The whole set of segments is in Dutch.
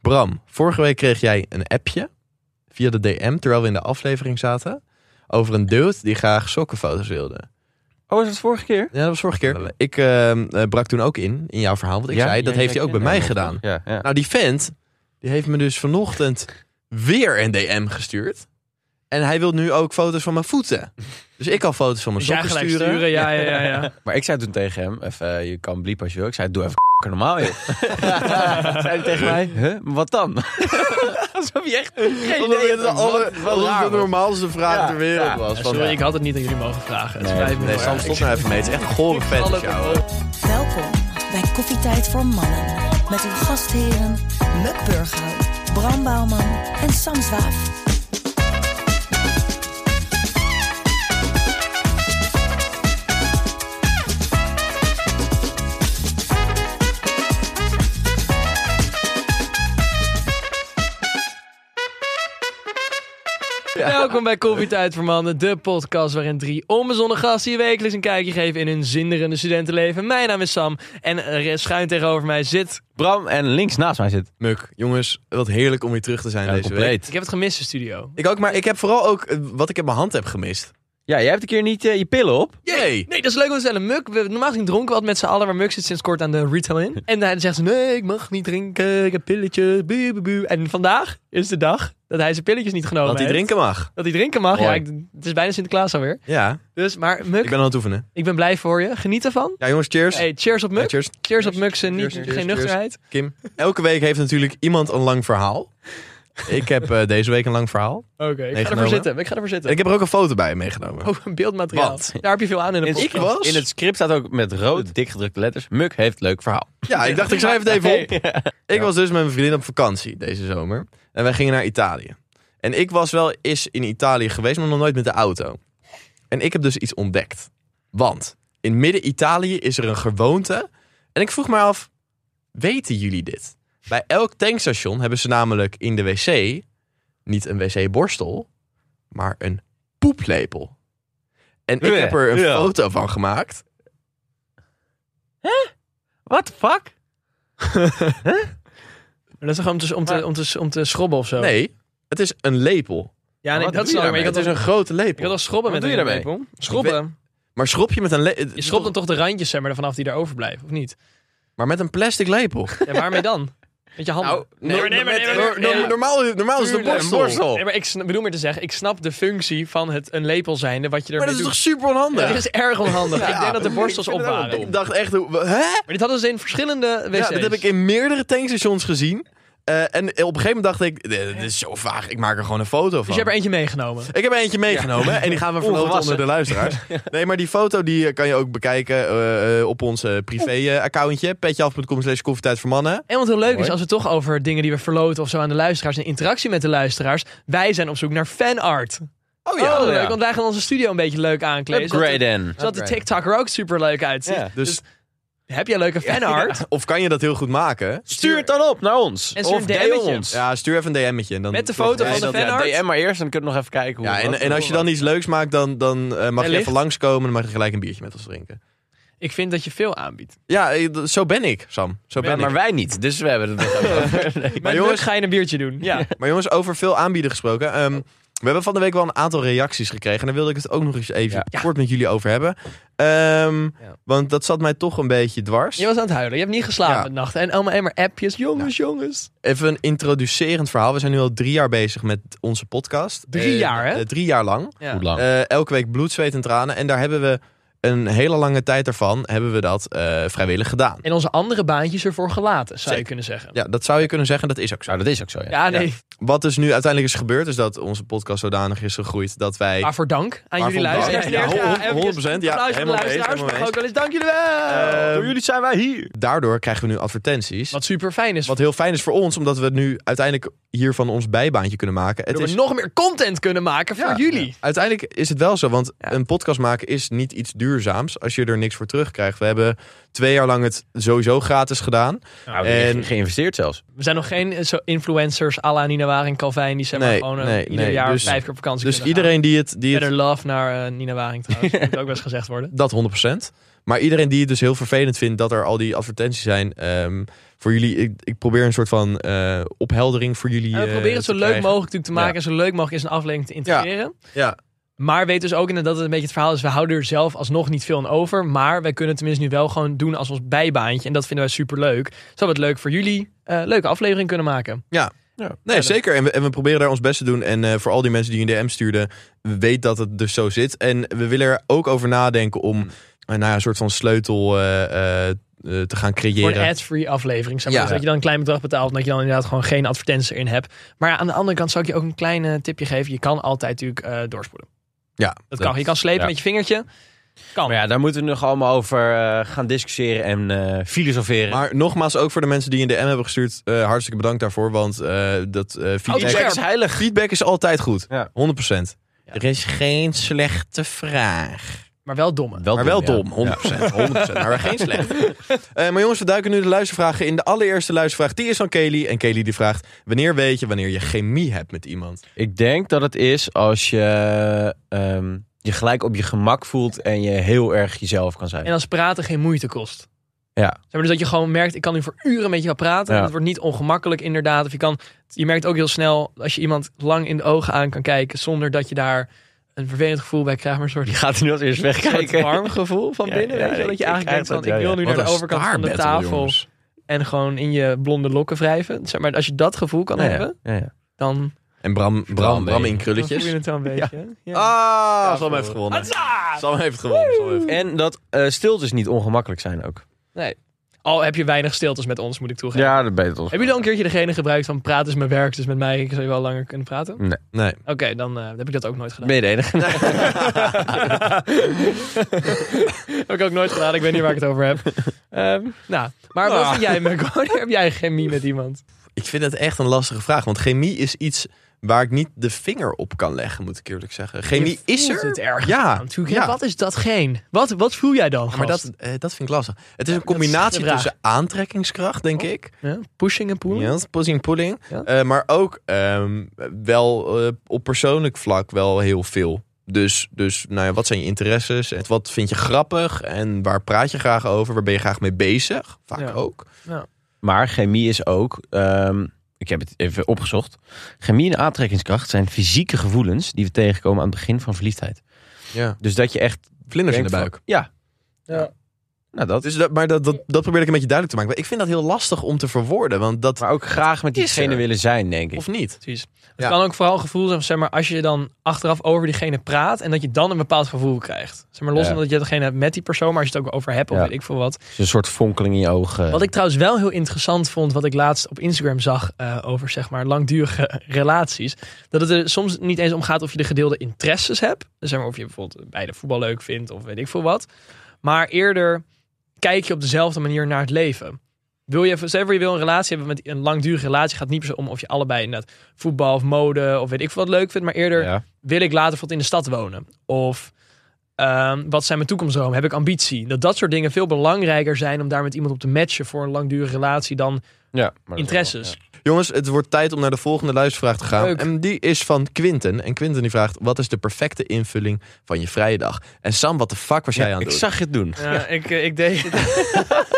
Bram, vorige week kreeg jij een appje via de DM terwijl we in de aflevering zaten. Over een dude die graag sokkenfoto's wilde. Oh, is dat vorige keer? Ja, dat was vorige keer. Ik ehm, eh, brak toen ook in, in jouw verhaal. Want ik Ja? zei, Ja, dat heeft ja, hij ook ja, bij mij ja, gedaan. Ja, ja. Nou, die vent, die heeft me dus vanochtend weer een DM gestuurd. En hij wil nu ook foto's van mijn voeten. Dus ik kan foto's van mijn Dus jij sokken gelijk sturen. sturen, ja, ja, ja. ja. Maar ik zei toen tegen hem, even, eh, je kan bliepen als je wil. Ik zei, doe even k- normaal, joh. zei hij tegen mij, huh? maar wat dan? Alsof je echt Eh, geen Omdat idee het had. de, aller- Wat- wat alsof het raar, de man. normaalste vraag Ja, ter wereld ja. was. Van, Sorry, ik had het niet aan jullie mogen vragen. Het Nee, spijt me. Nee, maar- Sam, stop nou even mee. Het is echt een gore fetish, ouwe. Welkom bij Koffietijd voor Mannen. Met uw gastheren Muk Burghuis, Bram Bouwman en Sam Zwaaf. Welkom bij Koffietijd voor Mannen, de podcast waarin drie onbezonnen gasten je wekelijks een kijkje geven in hun zinderende studentenleven. Mijn naam is Sam en er schuin tegenover mij zit... Bram en links naast mij zit. Muk, jongens, wat heerlijk om weer terug te zijn Ja, deze week. compleet. Ik heb het gemist, de studio. Ik ook, maar ik heb vooral ook eh, wat ik in mijn hand heb gemist. Ja, jij hebt een keer niet eh, je pillen op. Jee! Nee, dat is leuk om te stellen. Muk, we, normaal gezien dronken we altijd met z'n allen, maar Muk zit sinds kort aan de retail in. En hij zegt ze, nee, ik mag niet drinken, ik heb pilletjes, buh, buh, buh. En vandaag is de dag dat hij zijn pilletjes niet genomen Dat hij heeft. drinken mag. Dat hij drinken mag, ja. Mooi. ik- het is bijna Sinterklaas alweer. Ja, Dus, maar Muk, ik ben aan het oefenen. ik ben blij voor je. Geniet ervan. Ja, jongens, cheers. Hey, cheers op Ja, Muk. cheers. Cheers op Muk zijn niet- Cheers, cheers, geen cheers. nuchterheid. Kim. Elke week heeft natuurlijk iemand een lang verhaal. Ik heb eh, deze week een lang verhaal. Oké, ik ga ervoor genomen. zitten. Ik ga ervoor zitten. En ik heb er ook een foto bij meegenomen. Oh, beeldmateriaal. Want- Daar heb je veel aan in de In- podcast. Ik was- In het script staat ook met rood, dikgedrukte letters. Muk heeft leuk verhaal. Ja, ik dacht ik schrijf het even op. Hey. Ik was dus met mijn vriendin op vakantie deze zomer. En wij gingen naar Italië. En ik was wel eens in Italië geweest, maar nog nooit met de auto. En ik heb dus iets ontdekt. Want in midden Italië is er een gewoonte. En ik vroeg me af, weten jullie dit? Bij elk tankstation hebben ze namelijk in de wc niet een wc-borstel, maar een poeplepel. En ik Ja, heb er een ja. foto van gemaakt. What the fuck? Maar Dat is toch om te, om, te, om, te, om te schrobben of zo? Nee, het is een lepel. Ja, nee, Wat dat is doe je lang. Maar je kan het is toch, een grote je kan lepel. toch schrobben Wat met doe je een daarmee? lepel? Schrobben. Maar schrop je met een lepel... Je schrobt dan toch de randjes zeg maar, vanaf die daar overblijven, of niet? Maar met een plastic lepel. Ja, waarmee dan? Met je Nou, handen. nee, maar nee, maar nee, maar nee, Nor- nor- nee. Normaal, normaal is het een Tuurlijk, borstel. een borstel. Nee, maar ik sna- bedoel meer te zeggen, ik snap de functie van het een lepel zijnde wat je Maar ermee dat is toch doet. super onhandig? Dat is erg onhandig. Ja. dus Ik denk dat de borstels Ik vind op het ook waren. dom. Ik dacht echt, hoe- hè? Maar dit hadden ze in verschillende wc's. Ja, dat heb ik in meerdere tankstations gezien. Eh, en op een gegeven moment dacht ik, dit dit is zo vaag, ik maak er gewoon een foto van. Dus je hebt er eentje meegenomen. Ik heb eentje meegenomen en die gaan we verloten Ongewassen. onder de luisteraars. Nee, maar die foto die eh, kan je ook bekijken eh, eh, op ons eh, privé-accountje. Petjeaf.com slash koffietijd voor mannen. En wat heel leuk is, Mooi. als we toch over dingen die we verloten of zo aan de luisteraars en interactie met de luisteraars, wij zijn op zoek naar fanart. Oh Oh, leuk, ja. want wij gaan onze studio een beetje leuk aankleden. zodat de- Upgrade in. Zodat de TikTok er ook super leuk uitziet. Ja. Dus, Heb jij leuke fanart? of kan je dat heel goed maken? Stuur het dan op naar ons. En stuur of een DM DM'tje. ons. Ja, stuur even een DM'tje. en dan- Met de foto Nee, van de dat- fanart? DM maar eerst, dan kunnen we nog even kijken hoe Ja, en, wat- en als je dan iets leuks maakt, dan, dan eh, mag je Wellicht. even langskomen. Dan mag je gelijk een biertje met ons drinken. Ik vind dat je veel aanbiedt. Ja, eh, d- zo ben ik, Sam. Zo ben Ja, maar ik. wij niet, dus we hebben het nog even over. Nee. Maar jongens- jongens, ga je een biertje doen. Ja. Maar jongens, over veel aanbieden gesproken. ehm, we hebben van de week wel een aantal reacties gekregen. En daar wilde ik het ook nog eens even Ja. kort met jullie over hebben. Ehm, Ja. Want dat zat mij toch een beetje dwars. Je was aan het huilen. Je hebt niet geslapen Ja. de nacht. En allemaal maar appjes. Jongens, jongens. Even een introducerend verhaal. We zijn nu al drie jaar bezig met onze podcast. Drie Eh, jaar, hè? eh, drie jaar lang. Ja. Goed lang. Eh, elke week bloed, zweet en tranen. En daar hebben we een hele lange tijd daarvan hebben we dat eh, vrijwillig gedaan. En onze andere baantjes ervoor gelaten, zou je Zeker. kunnen zeggen. Ja, dat zou je kunnen zeggen. Dat is ook zo. Nou, dat is ook zo, ja. Ja, nee. Wat dus nu uiteindelijk is gebeurd, is dat onze podcast zodanig is gegroeid dat wij. Waarvoor dank aan Waarvoor jullie dank. luisteraars. Ja, ja, Eerst, honderd- honderd eventjes procent. Ja, applaus voor de helemaal eens, luisteraars. helemaal maar ook wel eens dank jullie wel. Eh, Door jullie zijn wij hier. Daardoor krijgen we nu advertenties. Eh, Wat, Wat super fijn is. heel fijn is voor ons, omdat we nu uiteindelijk hiervan ons bijbaantje kunnen maken. Het dat we is, nog meer content kunnen maken Ja. voor jullie. uiteindelijk is het wel zo, want een podcast maken is niet iets duurzaams als je er niks voor terugkrijgt. We hebben twee jaar lang het sowieso gratis gedaan. Nou, En- en... geïnvesteerd zelfs. We zijn nog geen eh, zo influencers à la Nina Waring, Calvin. Die zijn Nee, maar gewoon eh, nee, ieder nee. jaar Dus- vijf keer op vakantie Dus kunnen gaan. iedereen die het. Die het Better love naar eh, Nina Waring trouwens. Moet ook best gezegd worden. dat 100%. Maar iedereen die het dus heel vervelend vindt dat er al die advertenties zijn. ehm, voor jullie, ik, ik probeer een soort van eh, opheldering voor jullie. En we eh, proberen het te zo leuk krijgen. mogelijk natuurlijk te maken en zo leuk mogelijk in zijn aflevering te integreren. Ja, Maar weet dus ook inderdaad dat het een beetje het verhaal is. We houden er zelf alsnog niet veel aan over. Maar wij kunnen het tenminste nu wel gewoon doen als ons bijbaantje. En dat vinden wij super leuk. Zodat we het leuk voor jullie eh, leuke aflevering kunnen maken. nee, zeker. En we, en we proberen daar ons best te doen. En eh, voor al die mensen die een DM stuurden, weet dat het dus zo zit. En we willen er ook over nadenken om Hmm. eh, nou ja, een soort van sleutel eh, eh, eh, te gaan creëren. Voor een ad-free aflevering. Zeg maar. Ja. Dus dat je dan een klein bedrag betaalt. En dat je dan inderdaad gewoon geen advertenties erin hebt. Maar aan de andere kant zou ik je ook een klein eh, tipje geven. Je kan altijd natuurlijk eh, doorspoelen. Ja, Dat kan. Je kan slepen ja. met je vingertje. Kan. Maar ja, daar moeten we nog allemaal over eh, gaan discussiëren en eh, filosoferen. Maar nogmaals, ook voor de mensen die een DM hebben gestuurd, eh, hartstikke bedankt daarvoor. Want eh, dat eh, Houd het feedback, scherp. is heilig. feedback is altijd goed. Ja. 100%. Er is geen slechte vraag. Maar wel domme. maar wel ja. dom, 100%. 100% maar geen slechte. Eh, maar jongens, we duiken nu de luistervragen in. De allereerste luistervraag, die is van Kelly. En Kelly die vraagt, wanneer weet je wanneer je chemie hebt met iemand? Ik denk dat het is als je ehm, je gelijk op je gemak voelt en je heel erg jezelf kan zijn. En als praten geen moeite kost. Ja. Zeg maar, dus dat je gewoon merkt, ik kan nu voor uren met je gaan praten. Ja. En het wordt niet ongemakkelijk inderdaad. Of je, kan, je merkt ook heel snel, als je iemand lang in de ogen aan kan kijken... zonder dat je daar een vervelend gevoel bij krijgt. Maar een soort, Je gaat er nu als eerst soort wegkijken. warm gevoel van Ja, binnen. ja, weet je, wel? ik- dat je ik krijg eigenlijk denkt van, dat, ik wil ja, nu Wat naar een de overkant van de staarbattle, tafel. jongens. En gewoon in je blonde lokken wrijven. Zeg maar, als je dat gevoel kan Ja, ja, hebben, ja, ja. dan En Bram, Bram, Bram in dan voel je krulletjes. het wel een beetje. Ja. Ah, Ja, Sam heeft voor- gewonnen. Sam heeft gewonnen. Sam heeft gewonnen. En dat eh, stiltes niet ongemakkelijk zijn ook. Al heb je weinig stiltes met ons, moet ik toegeven. Ja, dat ben je toch. Heb je dan een keertje degene gebruikt van praat is mijn werk, dus met mij zou je wel langer kunnen praten? Nee. Oké, dan eh, heb ik dat ook nooit gedaan. Ben je de enige? Heb ik ook nooit gedaan, ik weet niet waar ik het over heb. Ehm, nou, maar wat Ah. vind jij, Merk? Wanneer heb jij chemie met iemand? Ik vind het echt een lastige vraag. Want chemie is iets waar ik niet de vinger op kan leggen, moet ik eerlijk zeggen. Chemie Je is voelt er. het erg. Ja, Natuurlijk, ja. ja, Wat is dat geen? Wat, wat voel jij dan? Ja, maar gast? dat, eh, dat vind ik lastig. Het is een de combinatie vraag. tussen aantrekkingskracht, denk ik. Ja, pushing en pulling? Ja, pushing, pulling. Ja. Eh, maar ook ehm, wel eh, op persoonlijk vlak wel heel veel. Dus, dus nou ja, wat zijn je interesses? En wat vind je grappig? En waar praat je graag over? Waar ben je graag mee bezig? Vaak Ja. ook. Maar chemie is ook. ehm, ik heb het even opgezocht. Chemie en aantrekkingskracht zijn fysieke gevoelens die we tegenkomen aan het begin van verliefdheid. Ja. Dus dat je echt. Vlinders in de denkt buik. van- Ja. Ja. Nou, dat. Dus dat, maar dat, dat, dat probeer ik een beetje duidelijk te maken. Maar ik vind dat heel lastig om te verwoorden. Want dat, Maar ook graag met Is diegene er. willen zijn, denk ik. of niet? Precies. Het Ja. kan ook vooral een gevoel zijn, zeg maar, als je dan achteraf over diegene praat en dat je dan een bepaald gevoel krijgt. Zeg maar, los Ja. van dat je hetgene hebt met die persoon, maar als je het ook over hebt of Ja. weet ik veel wat. Dus een soort fonkeling in je ogen. Wat ik trouwens wel heel interessant vond, wat ik laatst op Instagram zag eh, over zeg maar langdurige relaties, dat het er soms niet eens om gaat of je de gedeelde interesses hebt. Dus zeg maar of je bijvoorbeeld beide voetbal leuk vindt of weet ik veel wat. Maar eerder kijk je op dezelfde manier naar het leven. Wil je, stel voor je wil een relatie hebben met een langdurige relatie, gaat het niet per se om of je allebei inderdaad voetbal of mode of weet ik veel wat leuk vindt, maar eerder Ja. wil ik later bijvoorbeeld in de stad wonen? Of ehm, wat zijn mijn toekomstdromen? Heb ik ambitie? Dat dat soort dingen veel belangrijker zijn om daar met iemand op te matchen voor een langdurige relatie dan Ja, maar interesses. Jongens, het wordt tijd om naar de volgende luistervraag te gaan. Leuk. En die is van Quinten. En Quinten die vraagt, wat is de perfecte invulling van je vrije dag? En Sam, wat de fuck was jij aan het ik doen? zag je het doen. ik, eh, ik deed.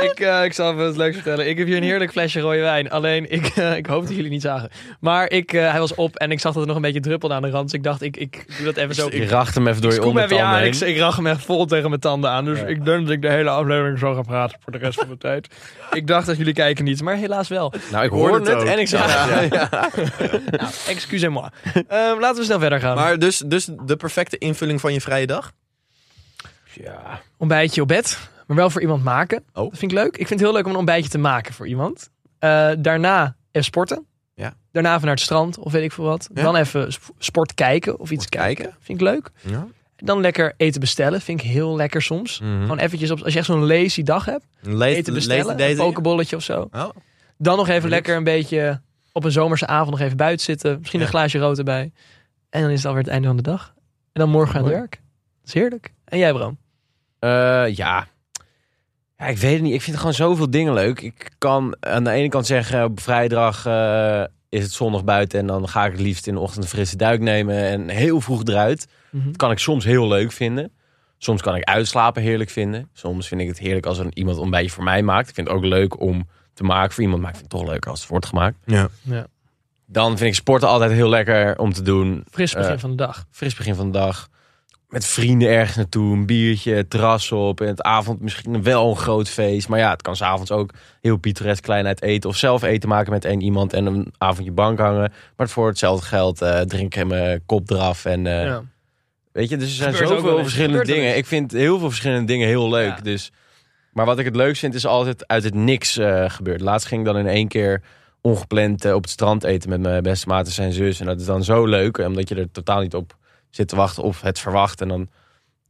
ik, eh, ik zal even het leuks vertellen. Ik heb hier een heerlijk flesje rode wijn. Alleen ik, eh, ik hoop dat jullie het niet zagen. Maar ik, eh, hij was op en ik zag dat er nog een beetje druppelde aan de rand. Dus ik dacht, ik, ik doe dat Dus even zo. Je racht hem even door je Scoop onder even ja, heen. ik, ik rach hem echt vol tegen mijn tanden aan. Dus ik denk dat ik de hele aflevering zo ga praten voor de rest van de tijd. Ik dacht dat jullie kijken niet, maar helaas wel. Nou, ik hoorde hoorde het het ook. en ik zag het. Nou, excusez-moi. Ehm, laten we snel verder gaan. Maar dus, dus de perfecte invulling van je vrije dag? Ja. Ontbijtje op bed, maar wel voor iemand maken. Oh. Dat vind ik leuk. Ik vind het heel leuk om een ontbijtje te maken voor iemand. Eh, daarna even sporten. Ja. Daarna even naar het strand of weet ik veel wat. Ja. Dan even sp- sport kijken of iets Sport kijken. kijken. Vind ik leuk. Ja. Dan lekker eten bestellen. Vind ik heel lekker soms. Mm-hmm. Mhm. Gewoon eventjes, op, als je echt zo'n lazy dag hebt. Eten bestellen, een pokebolletje of zo. Oh. Dan nog even Niks. lekker een beetje op een zomerse avond nog even buiten zitten. Misschien een Ja. glaasje rood erbij. En dan is het alweer het einde van de dag. En dan morgen aan het Mooi. werk. Dat is heerlijk. En jij Bram? Eh, ja. ja. Ik weet het niet. Ik vind gewoon zoveel dingen leuk. Ik kan aan de ene kant zeggen, op vrijdag eh, is het zonnig buiten. En dan ga ik Mhm. het liefst in de ochtend een frisse duik nemen. En heel vroeg eruit. Dat kan ik soms heel leuk vinden. Soms kan ik uitslapen heerlijk vinden. Soms vind ik het heerlijk als er iemand een ontbijtje voor mij maakt. Ik vind het ook leuk om te maken voor iemand, maar ik vind het toch leuk als het wordt gemaakt. Ja. Dan vind ik sporten altijd heel lekker om te doen. Fris begin Eh, van de dag. Fris begin van de dag. Met vrienden ergens naartoe, een biertje, het terras op. En het avond misschien wel een groot feest. Maar ja, het kan s'avonds ook heel pittoresk klein uit eten. Of zelf eten maken met één iemand en een avondje bank hangen. Maar voor hetzelfde geld eh, drink ik mijn kop eraf. En, eh, ja. Weet je, dus er zijn Gebeurt ook wel zoveel eens. verschillende Gebeurt wel dingen. eens. Ik vind heel veel verschillende dingen heel leuk. Ja. Dus. Maar wat ik het leukst vind, is altijd uit het niks eh gebeurd. Laatst ging ik dan in één keer ongepland eh, op het strand eten met mijn beste maat en zijn zus. En dat is dan zo leuk, eh, omdat je er totaal niet op zit te wachten of het verwacht. En dan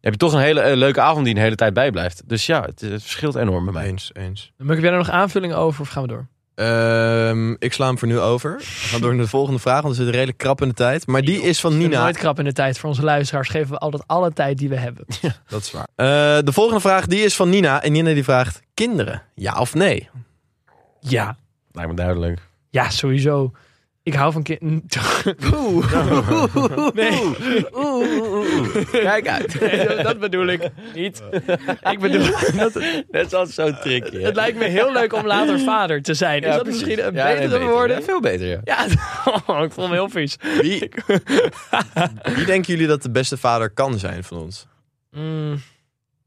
heb je toch een hele eh, leuke avond die een hele tijd bijblijft. Dus ja, het, het verschilt enorm bij mij. Eens, eens. Muk, heb jij er nog aanvullingen over of gaan we door? Ehm, ik sla hem voor nu over. We gaan door naar de volgende vraag, want we zitten redelijk krap in de tijd. Maar die is van Het is Nina. Nooit krap in de tijd. Voor onze luisteraars geven we altijd alle tijd die we hebben. Dat is waar. Eh, de volgende vraag die is van Nina. En Nina die vraagt: kinderen, ja of nee? Ja. Lijkt me duidelijk. Ja, sowieso. Ik hou van kinderen. Nee, Kijk uit. nee, dat bedoel ik niet. Ik bedoel, Dat is altijd zo'n trickje. het lijkt me heel leuk om later vader te zijn. Is dat misschien een betere woorden? Veel beter, ja. Ja, ik voel me heel vies. Wie, wie denken jullie dat de beste vader kan zijn van ons? Mm, ik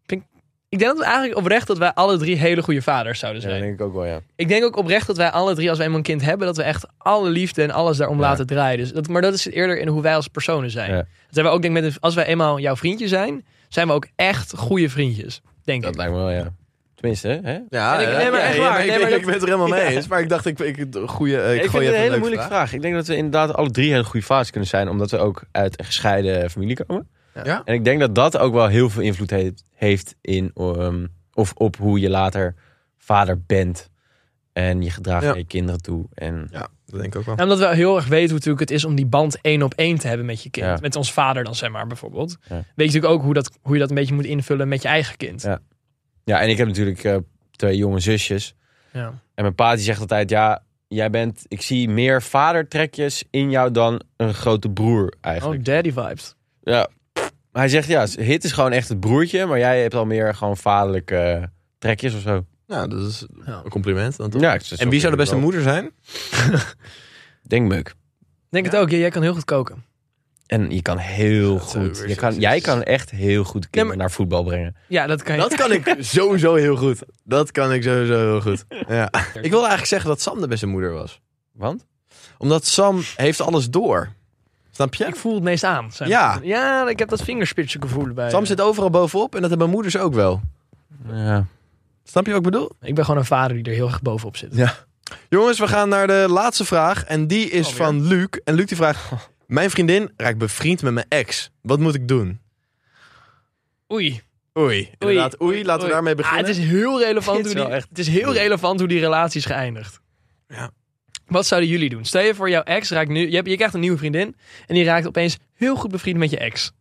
denk- ik denk dat we eigenlijk oprecht dat wij alle drie hele goede vaders zouden Ja, zijn. dat denk ik ook wel, ja. Ik denk ook oprecht dat wij alle drie, als wij eenmaal een kind hebben, dat we echt alle liefde en alles daarom Ja. laten draaien. Dus dat, maar dat is eerder in hoe wij als personen zijn. Ja. Dat hebben we ook, denk ik, met, een- als wij eenmaal jouw vriendje zijn, zijn we ook echt goede vriendjes. Denk Dat ik. lijkt me wel, ja. Tenminste, hè? Ja, En ik- eh, nee, maar ja, echt ja, Ik, waar. Nee, ben- maar ik ben het er helemaal mee eens. Maar ik dacht, ik, ik, het goede, eh, ik, Ik, gooi vind het even een hele leuke moeilijke vraag. vraag. Ik denk dat we inderdaad alle drie hele goede vaders kunnen zijn, omdat we ook uit een gescheiden familie komen. Ja. En ik denk dat dat ook wel heel veel invloed heeft, heeft in, ehm, of op hoe je later vader bent. En je gedraagt Ja. naar je kinderen toe. En Ja, dat denk ik ook wel. En omdat we heel erg weten hoe natuurlijk het is om die band één op één te hebben met je kind. Ja. Met ons vader dan, zeg maar, bijvoorbeeld. Ja. Weet je natuurlijk ook hoe, dat, hoe je dat een beetje moet invullen met je eigen kind. Ja. ja, en ik heb natuurlijk eh, twee jonge zusjes. Ja. En mijn pa die zegt altijd, ja, jij bent, ik zie meer vadertrekjes in jou dan een grote broer eigenlijk. Oh, daddy vibes. Ja. Maar hij zegt ja, Hit is gewoon echt het broertje, maar jij hebt al meer gewoon vaderlijke eh, trekjes of zo. Nou, dat is Ja. een compliment. Dan toch? Ja, dus ik- en wie zou de beste moeder zijn? Denk Muk. Denk het ook, ja, jij kan heel goed koken. En je kan heel Dat zou goed. weer Je zo kan, zijn. jij kan echt heel goed kinderen maar- naar voetbal brengen. Ja, dat kan je. Dat kan ik sowieso heel goed. Dat kan ik sowieso heel goed. Ja. Ik wil eigenlijk zeggen dat Sam de beste moeder was. Want? Omdat Sam heeft alles door. Snap je? Ik voel het meest aan. zeg Ja. maar. ja, ik heb dat vingerspitsen gevoel bij. eh, Sam zit overal bovenop en dat hebben moeders ook wel. Ja. Snap je wat ik bedoel? Ik ben gewoon een vader die er heel erg bovenop zit. Jongens, we gaan naar de laatste vraag. En die is Alweer. van Luc. En Luc die vraagt... Mijn vriendin raakt bevriend met mijn ex. Wat moet ik doen? Oei. Oei. Inderdaad, oei. Laten Oei. we daarmee Ah, beginnen. het is heel relevant, Dit is hoe die, wel echt- het is heel relevant hoe die relatie is geëindigd. Ja. Wat zouden jullie doen? Stel je voor, jouw ex raakt nu... Je, hebt, je krijgt een nieuwe vriendin en die raakt opeens heel goed bevriend met je ex.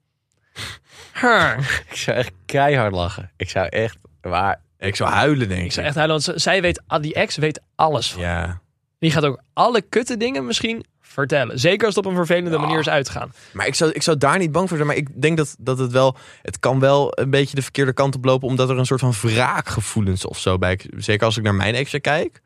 Haar. Ik zou echt keihard lachen. Ik zou echt waar. Ik zou huilen, denk ik. Ik zou echt huilen, want z- zij weet, ah, die ex weet alles van. Ja. Die gaat ook alle kutte dingen misschien vertellen. Zeker als het op een vervelende manier is uitgegaan. Maar ik zou, ik zou daar niet bang voor zijn. Maar ik denk dat, dat het wel... Het kan wel een beetje de verkeerde kant op lopen. Omdat er een soort van wraakgevoelens of zo bij... Zeker als ik naar mijn exen kijk.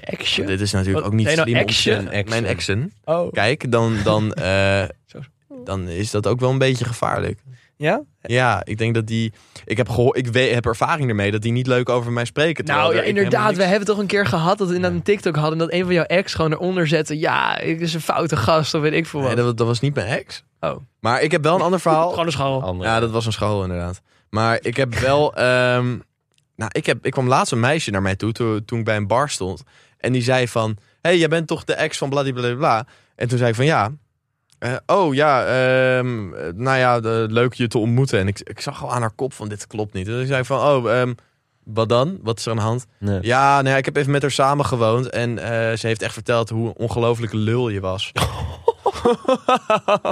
Exje. Dit is natuurlijk Wat ook niet zei je nou, slim. om- exen? Mijn exen. Oh. Kijk, dan, dan, eh, Zo. dan is dat ook wel een beetje gevaarlijk. Ja? Ja, ik denk dat die. Ik heb, gehoor, ik we- heb ervaring ermee dat die niet leuk over mij spreken. terwijl Nou ja, er- ik inderdaad. We helemaal hebben toch een keer gehad dat we inderdaad een TikTok hadden... en dat een van jouw ex gewoon eronder zette... Ja, ik is een foute gast of weet ik veel niks- wat. Nee, dat, was- dat was niet mijn ex. Oh. Maar ik heb wel een ander verhaal. Oh. Gewoon een scharrel. Andere. ja, dat was een school inderdaad. Maar ik heb wel. ehm, nou, ik, heb, ik kwam laatst een meisje naar mij toe to- toen ik bij een bar stond. En die zei van: hey, jij bent toch de ex van bladibladibla. En toen zei ik van ja. Eh, oh ja, ehm, eh, nou ja, de- leuk je te ontmoeten. En ik, ik zag al aan haar kop van dit klopt niet. Dus ik zei van, oh, ehm, wat dan? Wat is er aan de hand? Nee. Ja, nee, ik heb even met haar samen gewoond. En eh, ze heeft echt verteld hoe een ongelofelijke lul je was.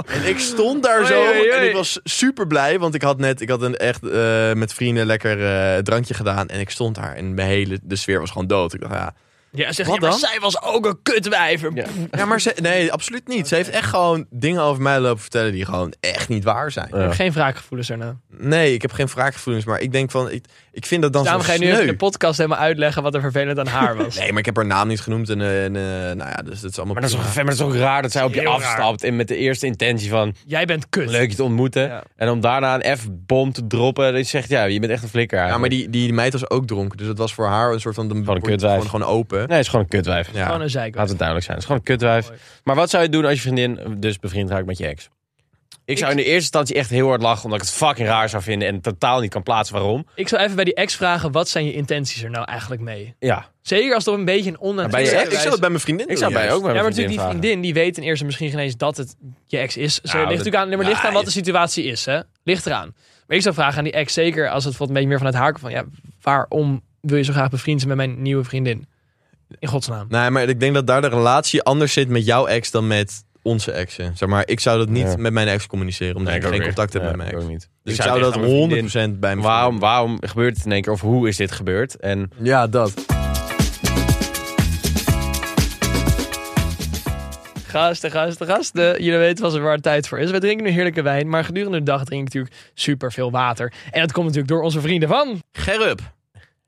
en ik stond daar zo Oei, oei, oei. en ik was super blij. Want ik had net ik had een echt eh, met vrienden lekker eh, drankje gedaan. En ik stond daar en mijn hele, de sfeer was gewoon dood. Ik dacht, ja, Ja, zeg Wat je, maar dan? zij was ook een kutwijver. Ja. Ja, maar ze, nee, absoluut niet. Ze heeft echt gewoon dingen over mij lopen vertellen die gewoon echt niet waar zijn. Ik Ja. heb geen wraakgevoelens daarna. Nee, ik heb geen wraakgevoelens, maar ik denk van, ik, ik vind dat dan Daarom zo ga je nu even in sneu. de podcast helemaal uitleggen wat er vervelend aan haar was. Nee, maar ik heb haar naam niet genoemd en, eh, en eh, nou ja, dus dat is allemaal... Maar dat, is ook, prima. maar dat is ook raar dat zij op je Heel raar. afstapt en met de eerste intentie van Jij bent kut. leuk je te ontmoeten. Ja. En om daarna een F-bom te droppen. Dat je zegt, ja, je bent echt een flikker Ja, maar eigenlijk. die, die meid was ook dronken, dus dat was voor haar een soort van... Gewoon een kutwijf. Gewoon, gewoon open. Nee, het is gewoon een kutwijf. Ja. Gewoon een zeiko. Laat het duidelijk zijn. Het is gewoon een kutwijf. Mooi. Maar wat zou je doen als je vriendin dus bevriend raakt met je ex? Ik zou in de eerste instantie echt heel hard lachen, omdat ik het fucking raar zou vinden en totaal niet kan plaatsen waarom. Ik zou even bij die ex vragen, wat zijn je intenties er nou eigenlijk mee? Ja, Zeker als het op een beetje een bij je onnatuurlijke ex? Ik zou het bij mijn vriendin ik zou doen, bij juist. ook bij Ja, mijn maar natuurlijk die vragen. vriendin, die weet ten eerste misschien geen eens dat het je ex is. Ze Nou, ligt dat- natuurlijk aan, nee, maar ligt Ja, aan wat de situatie is, hè? Ligt eraan. Maar ik zou vragen aan die ex, zeker als het wat een beetje meer vanuit haar komt, van ja, waarom wil je zo graag bevriend zijn met mijn nieuwe vriendin? In godsnaam. Nee, maar ik denk dat daar de relatie anders zit met jouw ex dan met onze exen. Zeg maar, ik zou dat niet Ja. met mijn ex communiceren, omdat Nee, ik ook geen weer. contact heb Ja, met mijn ik ex. ook niet. Dus ik het zou echt dat aan mijn vriendin- 100% bij me. Waarom, waarom gebeurt het in één keer? Of hoe is dit gebeurd? En Ja, dat. Gasten, gasten, gasten. Jullie weten wel eens waar het tijd voor is. We drinken nu heerlijke wijn, maar gedurende de dag drink ik natuurlijk super veel water. En dat komt natuurlijk door onze vrienden van Gerup.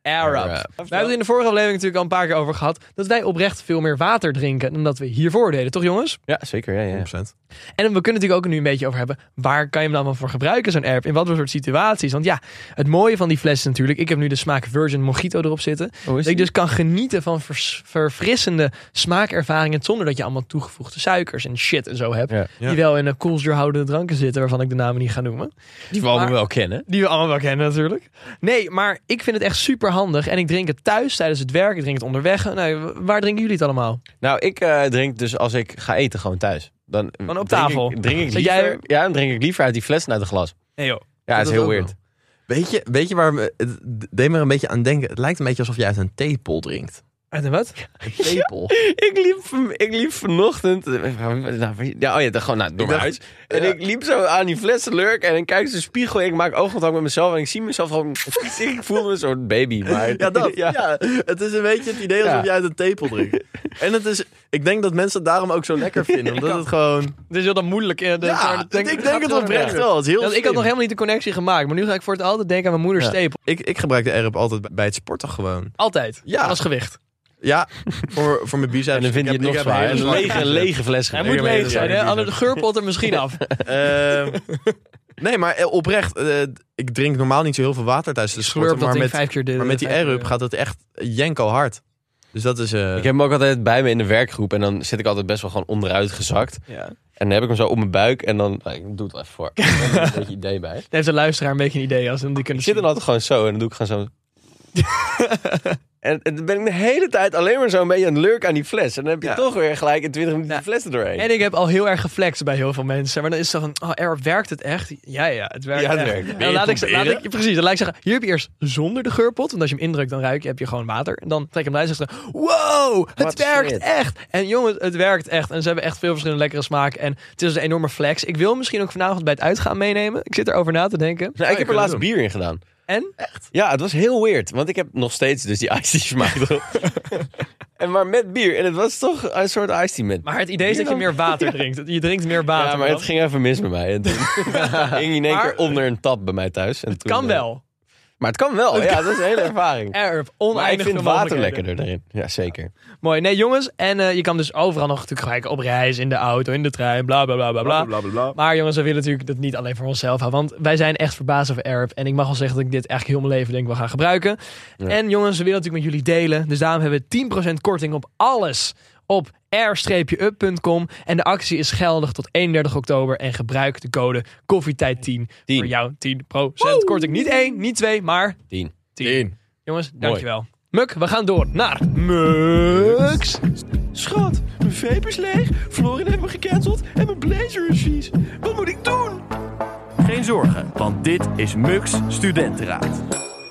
Arab. Arab. We hebben het in de vorige aflevering natuurlijk al een paar keer over gehad dat wij oprecht veel meer water drinken dan dat we hiervoor deden, toch jongens? ja, zeker. Ja, ja. 100%. En we kunnen natuurlijk ook nu een beetje over hebben. Waar kan je hem dan wel voor gebruiken, zo'n app? In wat voor soort situaties? Want ja, het mooie van die fles is natuurlijk. Ik heb nu de smaak Virgin Mojito erop zitten. Hoe Dat ik dus kan genieten van vers- verfrissende smaakervaringen. Zonder dat je allemaal toegevoegde suikers en shit en zo hebt. dus- Ja. Ja. Die wel in een koelsdoorhoudende dranken zitten. Waarvan ik de namen niet ga noemen. Die we allemaal Maar- wel kennen. Die we allemaal wel kennen natuurlijk. Nee, maar ik vind het echt super handig. En ik drink het thuis tijdens het werk. Ik drink het onderweg. Nou, waar drinken jullie het allemaal? Nou, ik eh, drink dus als ik ga eten gewoon thuis. Dan Gewoon op drink tafel. Ik, drink ik Zet liever, jij Ja, dan drink ik liever uit die fles dan uit het glas. Nee joh. Ja, het Dat is heel ook weird. wel. Weet je, weet je waar me, het deed me een beetje aan denken? Het lijkt een beetje alsof je uit een theepot drinkt. Uit een wat? Een theepot. Ik liep, van- ik liep vanochtend. Nou, ja, oh ja, dan gewoon nou, door Ik mijn dacht- huis. En ja. ik liep zo aan die flessen lurk. En ik kijk in de spiegel. Ik maak oogcontact met mezelf. En ik zie mezelf gewoon. ik voel me een soort baby. Maar, Ja, dat. Ja. Ja. het is een beetje het idee alsof Ja. je uit een theepot drinkt. En het is, ik denk dat mensen het daarom ook zo lekker vinden. Omdat het gewoon... Dus heel dan moeilijk. eh, de- Ja, de- ik denk het oprecht wel. Het is heel Ja, ik had nog slim. helemaal niet de connectie gemaakt. Maar nu ga ik voor het altijd denken aan mijn moeders Ja. tepel. ik, ik gebruik de Arab altijd bij- bij het sporten gewoon. Altijd. Ja. Als gewicht. Ja, voor, voor mijn biceps. En dan vind je Ik het heb- ik nog heb zwaar. hele Een lange lege, biceps. lege fles. Hij Ik moet heb een hele leeg zijn, lange hè? biceps. Anders de geur pot er misschien af. Ehm, nee, maar eh, oprecht. eh, ik drink normaal niet zo heel veel water tijdens de Dus sport. dat Maar ding met, vijf keer de- maar met die vijf keer- Arab gaat het echt jenko hard. Dus dat is... eh, Ik heb hem ook altijd bij me in de werkgroep. En dan zit ik altijd best wel gewoon onderuit gezakt. Ja. En dan heb ik hem zo op mijn buik. En dan. nou, ik doe het wel even voor. Ik heb er een beetje idee bij. Daar heeft de luisteraar een beetje een idee. Als hem die Ik kunnen zit dan zien. altijd gewoon zo en dan doe ik gewoon zo. en, en dan ben ik de hele tijd alleen maar zo'n beetje een lurk aan die fles. En dan heb je Ja. toch weer gelijk in 20 minuten Ja. die fles er doorheen. Nou, En ik heb al heel erg geflext bij heel veel mensen. Maar dan is het zo van, oh, Arab, werkt het echt? Ja, ja, het werkt Ja, het echt. werkt. En Wil dan je laat ik, proberen? laat ik, precies, dan laat ik zeggen, hier heb je eerst zonder de geurpot. Want als je hem indrukt, dan ruik je, heb je gewoon water. En dan trek ik hem eruit en zeg je, wow, het Wat werkt shit. echt. En jongens, het werkt echt. En ze hebben echt veel verschillende lekkere smaken. En het is een enorme flex. Ik wil misschien ook vanavond bij het uitgaan meenemen. Ik zit erover na te denken. Nou, ik je heb er kunnen laatst doen. bier in gedaan. En? Ja, het was heel weird. Want ik heb nog steeds dus die iced tea smaak erop. en maar met bier. En het was toch een soort iced tea met Maar het idee is dat je meer water drinkt. Je drinkt meer water. Ja, maar dan. het ging even mis bij mij. En toen ging in één Maar- keer onder een tap bij mij thuis. En Het toen, kan eh, wel. Maar het kan wel. Ja, dat is een hele ervaring. Erf, Maar oneindig ik vind veel water mogelijkheden. lekkerder daarin. Ja, zeker. Mooi. Nee, jongens. En eh, je kan dus overal nog natuurlijk gelijk op reis, in de auto, in de trein, bla bla bla bla bla. Maar jongens, we willen natuurlijk dat niet alleen voor onszelf houden. Want wij zijn echt verbaasd over Arab. En ik mag wel zeggen dat ik dit eigenlijk heel mijn leven denk ik wel gaan gebruiken. Ja. En jongens, we willen natuurlijk met jullie delen. Dus daarom hebben we 10% korting op alles op r-up.com. En de actie is geldig tot 31 oktober. En gebruik de code koffietijd10 Tien. voor jou 10% korting. Niet 1, niet 2, maar Tien. 10. Jongens, dankjewel. Muk, we gaan door naar Muks. Schat, mijn vape is leeg, Florin heeft me gecanceld en mijn blazer is vies. Wat moet ik doen? Geen zorgen, want dit is Mux Studentenraad.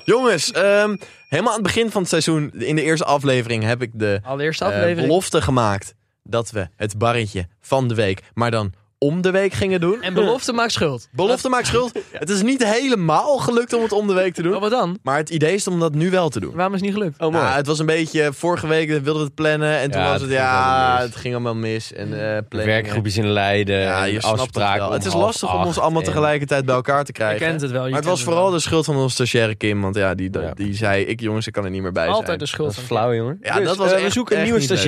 Jongens, ehm, helemaal aan het begin van het seizoen, in de eerste aflevering, heb ik de allereerste eh, aflevering. belofte gemaakt dat we het barretje van de week, maar dan om de week gingen doen. En belofte maakt schuld. Belofte maakt schuld. Het is niet helemaal gelukt om het om de week te Maar doen. Oh, wat dan? Maar het idee is om dat nu wel te doen. Waarom is het niet gelukt? Oh, mooi. Nou, het was een beetje, vorige week wilden we het plannen en toen Ja, was het het, ging allemaal ja, mis. het ging allemaal mis. En, eh, planningen. Werkgroepjes in Leiden. Ja, je en snapt het afspraken wel. om Het is half lastig om acht ons allemaal en- tegelijkertijd bij elkaar te Je krijgen. kent het wel. je Maar het kent was vooral wel. de schuld van ons stagiaire Kim. Want ja, die, Ja. die zei, ik jongens, ik kan er niet meer bij altijd de zijn. Dat schuld is van flauw, jongen. Ja, dat was eh, we echt- zoeken een echt nieuwe niet leuk.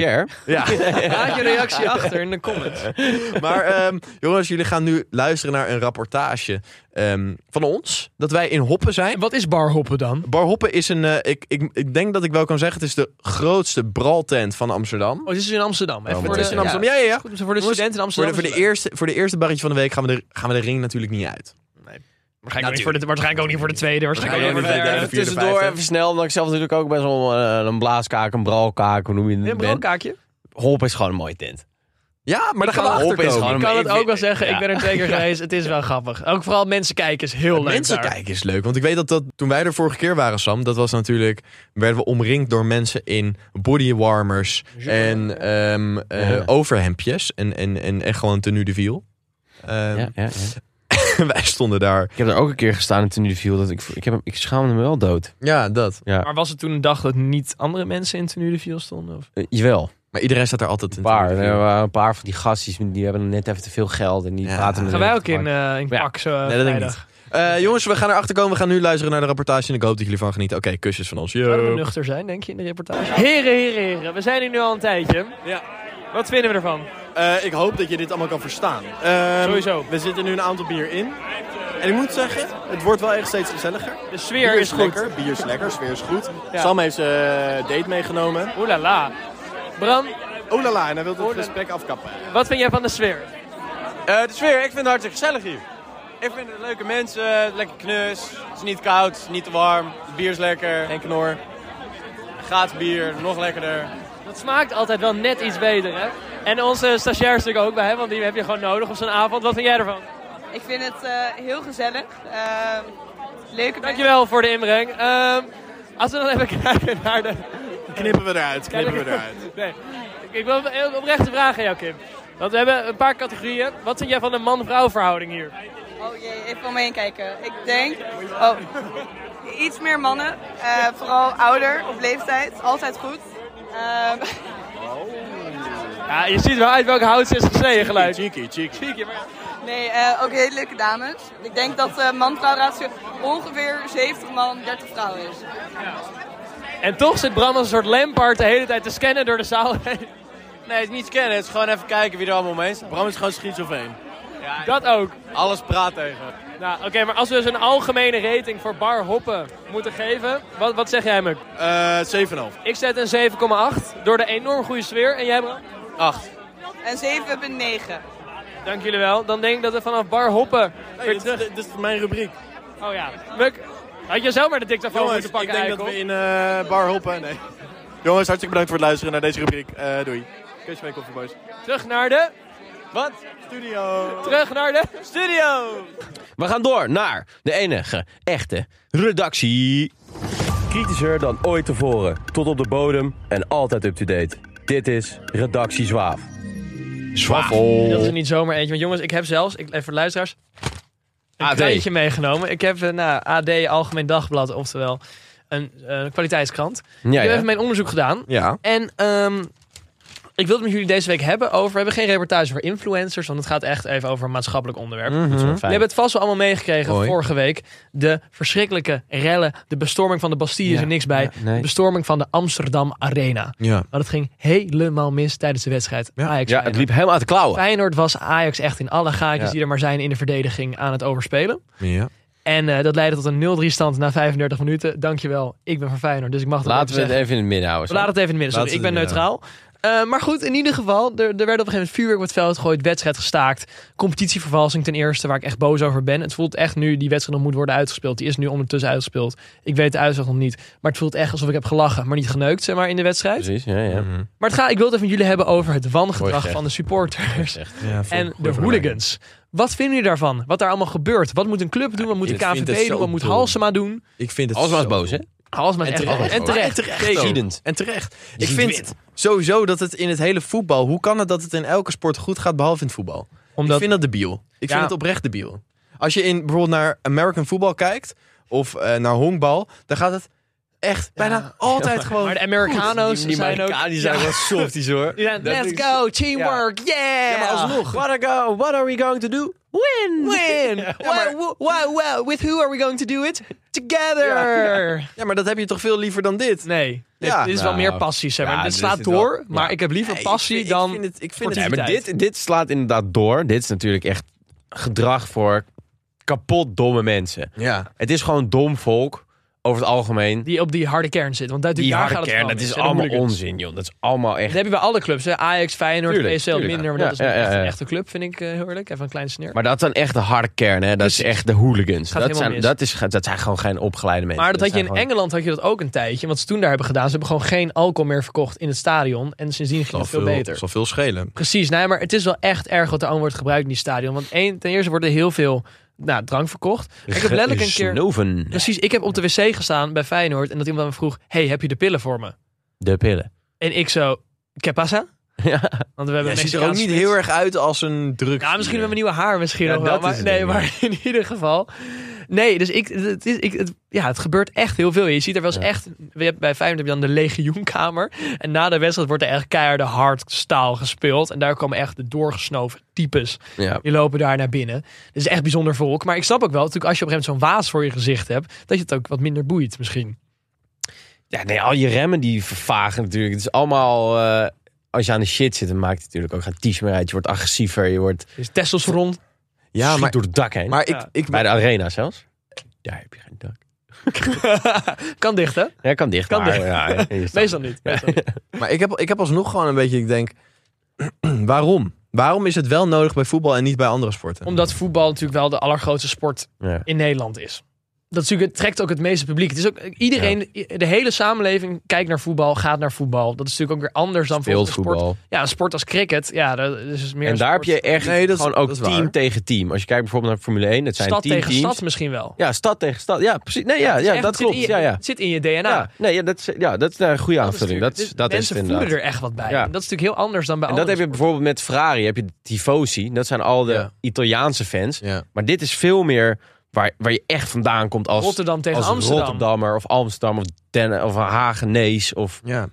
stagiair. Ja, Laat je reactie achter in de comments. maar ehm, jongens, jullie gaan nu luisteren naar een rapportage ehm, van ons. Dat wij in Hoppen zijn. En Wat is barhoppen dan? Barhoppen is een, eh, ik, ik, ik denk dat ik wel kan zeggen, het is de grootste braltent van Amsterdam. Oh, dit is in Amsterdam. Even Oh, voor het de, is in Amsterdam. Ja, ja, ja. Goed, dus voor de studenten in Voor de, Amsterdam. voor, de eerste, voor de eerste barretje van de week gaan we de, gaan we de ring natuurlijk niet uit. Waarschijnlijk, ook niet voor de, waarschijnlijk ook niet voor de tweede. Waarschijnlijk ook Waarschijnlijk niet voor de ook niet voor vierde, Even derde. tussendoor, vijfde. even snel. Omdat ik zelf natuurlijk ook best wel eh, een blaaskaak, een bralkaak, hoe noem je het? Ja, een ben. broodkaakje. Hop is gewoon een mooie tent. Ja, maar daar gaan we kan- achter Hoppen is komen. gewoon- Ik maar kan ik het ook vind- wel zeggen. ja. Ik ben er twee keer geweest. Het is wel grappig. Ook vooral mensen kijken is heel leuk mensen daar. kijken is leuk. Want ik weet dat, dat toen wij er vorige keer waren, Sam, dat was natuurlijk. werden we omringd door mensen in bodywarmers en ehm, eh, Ja. overhemdjes. En, en, en, en gewoon tenue de viel. Ehm, Ja, ja, ja. wij stonden daar. Ik heb er ook een keer gestaan en toen die viel dat ik, ik, heb, hem- ik schaamde me wel dood. Ja, dat. Maar was het toen een dag dat niet andere mensen in tenue de viel stonden? Of? Eh, jawel, Maar iedereen staat daar altijd een in. paar. tenue de Er viel. waren een paar van die gastjes die hebben net even te veel geld en die Ja. praten. Gaan wij ook in, eh in Ja. pak zo eh, Nee, dat denk ik vrijdag? Eh, jongens, we gaan erachter komen. We gaan nu luisteren naar de rapportage. En ik hoop dat jullie van genieten. Oké, kusjes van ons. Zouden we Yo. nuchter zijn, denk je, in de reportage? Heren, heren, heren. We zijn hier nu al een tijdje. Ja. Wat vinden we ervan? Eh, ik hoop dat je dit allemaal kan verstaan. Ehm, Sowieso. We zitten nu een aantal bier in. En ik moet zeggen, het wordt wel echt steeds gezelliger. De sfeer is goed. lekker, bier is lekker, sfeer is goed. Ja. Sam heeft zijn date meegenomen. Oeh la la. Bram, Oh la la, en hij wil het Oh la la. gesprek afkappen. wat vind jij van de sfeer? Eh, de sfeer, ik vind het hartstikke gezellig hier. Ik vind het leuke mensen, lekker knus. Het is niet koud, niet te warm. Het bier is lekker. En knor. Gaat bier, nog lekkerder. Dat smaakt altijd wel net iets beter, hè? En onze stagiair is er ook bij, hè? want die heb je gewoon nodig op zo'n avond. Wat vind jij ervan? Ik vind het eh, heel gezellig. Ehm leuke mensen. Dankjewel voor de inbreng. Ehm, als we dan even kijken naar de... Knippen we eruit, knippen we eruit. Nee. Ik wil een oprechte vraag aan jou, Kim. Want we hebben een paar categorieën. Wat vind jij van de man-vrouw verhouding hier? Oh jee, even om me heen kijken. Ik denk... Oh, iets meer mannen. eh, vooral ouder, op leeftijd. Altijd goed. Ehm, Ja, je ziet wel uit welke hout ze is gesneden gelijk. Cheeky, cheeky. Zie ik je, maar- nee, eh, ook hele leuke dames. Ik denk dat de man-vrouw ratio ongeveer 70 man, 30 vrouwen is. En toch zit Bram als een soort lampard de hele tijd te scannen door de zaal heen. Nee, het is niet scannen, het is gewoon even kijken wie er allemaal mee staat. Bram is gewoon schizofreen. Dat ook. Alles praat tegen. Nou, oké, maar als we dus een algemene rating voor bar hoppen moeten geven, wat, wat zeg jij, Muk? Eh 7,5. Ik zet een 7,8 door de enorm goede sfeer. En jij, Bram? 8. En 7,9. Dank jullie wel. Dan denk ik dat we vanaf bar hoppen weer Dit is- terug... dit is mijn rubriek. Oh ja, Muk, had je zelf maar de dictafoon Jongens, moeten ik pakken, denk dat we eikel. in eh, bar hoppen. Nee. Jongens, hartstikke bedankt voor het luisteren naar deze rubriek. Eh, doei. Kusje mee, koffieboys. Terug naar de... Wat? Studio. Terug naar de... Studio. We gaan door naar de enige echte redactie. Kritischer dan ooit tevoren, tot op de bodem en altijd up-to-date. Dit is Redactie Zwaaf. Dat is er niet zomaar eentje. Want jongens, ik heb zelfs, ik, even luisteraars, een AD. krantje meegenomen. Ik heb een nou, AD, Algemeen Dagblad, oftewel een eh, kwaliteitskrant. Ja, ik heb ja. even mijn onderzoek gedaan. Ja. En ehm, ik wilde het met jullie deze week hebben over... We hebben geen reportage voor influencers, want het gaat echt even over een maatschappelijk onderwerp. Mhm. We hebben het vast wel allemaal meegekregen Hoi. vorige week. De verschrikkelijke rellen, de bestorming van de Bastille is Ja, er niks bij. ja, nee. De bestorming van de Amsterdam Arena. Ja. Maar dat ging helemaal mis tijdens de wedstrijd. Ja. Ajax Ja, het liep helemaal uit de klauwen. Feyenoord was Ajax echt in alle gaatjes Ja. die er maar zijn in de verdediging aan het overspelen. ja. En eh, dat leidde tot een 0-3 stand na 35 minuten. Dankjewel, ik ben van Feyenoord, dus ik mag dat Laten we even het zeggen. even in het midden houden. We laten het even in het midden, sorry. Laten Ik we ben het in het neutraal. Eh, maar goed, in ieder geval, er, er werd op een gegeven moment vuurwerk op het veld gegooid, wedstrijd gestaakt. Competitievervalsing ten eerste, waar ik echt boos over ben. Het voelt echt nu, die wedstrijd nog moet worden uitgespeeld. Die is nu ondertussen uitgespeeld. Ik weet de uitslag nog niet. Maar het voelt echt alsof ik heb gelachen, maar niet geneukt, zeg maar, in de wedstrijd. Precies, ja, ja. Mhm. Maar het gaat, ik wil het even met jullie hebben over het Dus Mooi wangedrag gezegd. van de supporters. Ja, voor- En goeie de vergelijking. hooligans. Wat vinden jullie daarvan? Wat daar allemaal gebeurt? Wat moet een club doen? Wat moet de ik vind het KVB zo doen? Wat moet dom. Halsema doen? Ik vind het Alles was zo boos, hè? Halsema is En echt... terecht. En En terecht. terecht. ook. Ziedend. En terecht. Je Ik ziet vind wit. sowieso dat het in het hele voetbal. Hoe kan het dat het in elke sport goed gaat behalve in het voetbal? Omdat, Ik vind dat debiel. Ik Ja. vind het oprecht debiel. Als je in, bijvoorbeeld naar American voetbal kijkt, of eh, naar honkbal, dan gaat het echt bijna altijd gewoon... maar de Americano's Die zijn ook... Amerikanen die zijn wel softies hoor. Die zijn, Dat let's is- go, teamwork, yeah! Ja, maar alsnog. What are, go, what are we going to do? Win! Win! Why, why, why- with who are we going to do it? Together! Ja, maar dat heb je toch veel liever dan dit? Nee, dit Ja. dit is wel Nou, meer passie, zeg maar. ja, dit dit slaat is door, wel- maar ja. ik heb liever Nee, passie ik vind- dan... Ik vind het, ik vind Ja, het maar dit, dit slaat inderdaad door. Dit is natuurlijk echt gedrag voor kapot domme mensen. ja. Het is gewoon dom volk over het algemeen. die op die harde kern zit. Want daar, Die daar harde gaat het kern, gewoon dat mis. is En dan allemaal moet ik het- onzin, joh. Dat is allemaal Dat echt. heb je bij alle clubs. Hè? Ajax, Feyenoord, Tuurlijk, PSV tuurlijk. minder. Maar dat is Ja, niet ja, echt ja, een ja. echte club, vind ik eh, heel eerlijk. Even een klein sneer. Maar, Maar dat zijn echt de harde kern, hè? Dat is echt de hooligans. Gaat Dat helemaal zijn, mis. dat, is, ge- dat zijn gewoon geen opgeleide mensen. dat had je in zijn gewoon- Engeland had je dat ook een tijdje. Want ze toen daar hebben gedaan. Ze hebben gewoon geen alcohol meer verkocht in het stadion. En sindsdien ging Zal het veel beter. Zal veel schelen. Precies, nee, maar het is wel echt erg wat er aan wordt gebruikt in die stadion. Want één, ten eerste wordt er heel veel nou, drank verkocht. Ik heb letterlijk een keer... Dus- Snoven. Precies, ik heb op de wc gestaan bij Feyenoord. En dat iemand aan me vroeg, hey, heb je de pillen voor me? De pillen. En ik zo, ¿qué pasa? Ja. Want we hebben Hij een ziet er ook Mexicaanse niet spits. heel erg uit als een druk. Ja, misschien met mijn nieuwe haar misschien Ja, nog dat wel. is Maar, het nee, ding, ja. maar in ieder geval. Nee, dus ik, het, is, ik, het, ja, het gebeurt echt heel veel. Je ziet er wel eens Ja. echt... je hebt- Bij Feyenoord heb je dan de legioenkamer. En na de wedstrijd wordt er echt keiharde hard staal gespeeld. En daar komen echt de doorgesnoven types. ja. Die lopen daar naar binnen. Het is echt bijzonder volk. Maar ik snap ook wel, natuurlijk als je op een gegeven moment zo'n waas voor je gezicht hebt... dat je het ook wat minder boeit misschien. Ja, nee, al je remmen die vervagen natuurlijk. Het is allemaal... eh, als je aan de shit zit, dan maakt het natuurlijk ook geen ties meer uit. Je wordt agressiever, je wordt... Dus testosteron. Ja, schiet maar, door het dak heen. maar ik, Ja. ik, Bij de arena zelfs. Daar heb je geen dak. kan dicht, hè? Ja, kan dicht. Kan maar, dicht. Ja, ja, je staat- Meestal niet. Meestal niet. maar ik, heb, ik heb alsnog gewoon een beetje, ik denk, waarom? Waarom is het wel nodig bij voetbal en niet bij andere sporten? Omdat voetbal natuurlijk wel de allergrootste sport Ja. in Nederland is. Dat is natuurlijk, het trekt ook het meeste publiek. Het is ook iedereen, de hele samenleving kijkt naar voetbal, gaat naar voetbal. Dat is natuurlijk ook weer anders dan Speelt bijvoorbeeld een sport. voetbal. Ja, een sport als cricket. Ja, dat is dus meer En een daar heb sport- je echt Nee, dat is- gewoon ook dat is team waar. tegen team. Als je kijkt bijvoorbeeld naar Formule 1, dat zijn stad team tegen teams. stad misschien wel. Ja, stad tegen stad. Ja, precies. Nee, ja, ja Echt, dat het zit klopt. in je- Ja, ja. Het zit in je DNA. Nou. Ja, nee, ja, dat is, ja, dat is nou een goede Dat is aanvulling. natuurlijk- Dat is, dus dat is het mensen inderdaad. voelen er echt wat bij. Ja. En dat is natuurlijk heel anders dan bij En dat heb je andere bijvoorbeeld met Ferrari, heb je de tifosi. Dat zijn al de Ja. Italiaanse fans. Ja. Maar dit is veel meer waar, waar je echt vandaan komt als, Rotterdam tegen als Amsterdam. Rotterdammer of Amsterdam of, Den, of Hagenees. Of, Ja.